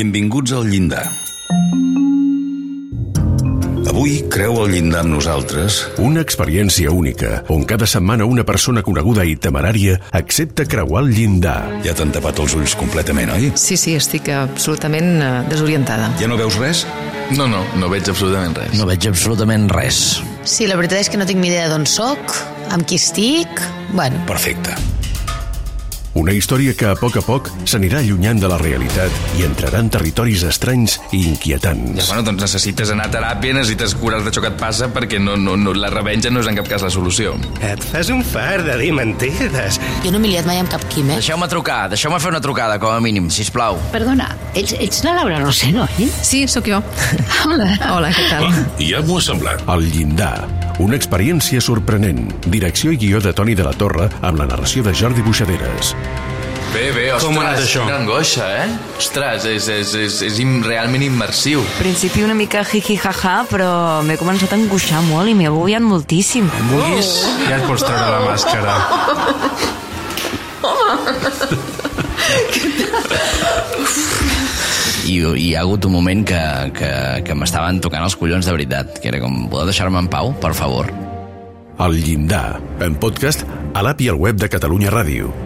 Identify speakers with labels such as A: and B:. A: Benvinguts al llindar. Avui creu el llindar amb nosaltres
B: Una experiència única, on cada setmana una persona coneguda i temerària accepta creuar el llindar.
A: ja t'han tapat els ulls completament, oi?
C: Sí, sí, estic absolutament eh, desorientada.
A: Ja no veus res?
D: No, no, no veig absolutament res.
E: No veig absolutament res.
F: Sí, la veritat és que no tinc ni idea d'on sóc, amb qui estic... Bueno,
A: Perfecte.
B: Una història que a poc a poc s'anirà allunyant de la realitat i entrarà en territoris estranys i inquietants.
D: Bueno, doncs necessites anar a teràpia, necessites curar-te això que et passa perquè no, no, no, la revenja no és en cap cas la solució.
G: Et fas un fart de dir mentides.
F: jo no m'he liat mai amb cap quim, eh?
E: Deixeu-me trucar, deixeu-me fer una trucada, com a mínim, si plau.
H: Perdona, ets, ets la Laura Rosero, eh?
C: Sí, sóc jo.
H: Hola.
C: Hola, què tal?
I: Ja m'ho ha semblat.
B: El llindar, una experiència sorprenent. Direcció i guió de Toni de la Torre amb la narració de Jordi Buixaderes.
D: Bé, bé, ostres,
G: Com ha anat això?
D: quina angoixa, eh? Ostres, és, és, és, és im, realment immersiu.
J: principi una mica jiji jaja, però m'he començat a angoixar molt i m'he agullat moltíssim.
G: Vulguis, ja et pots treure la màscara.
E: I, i hi ha hagut un moment que, que, que m'estaven tocant els collons de veritat, que era com, podeu deixar-me en pau, per favor?
B: El llindar, en podcast a l'app i al web de Catalunya Ràdio.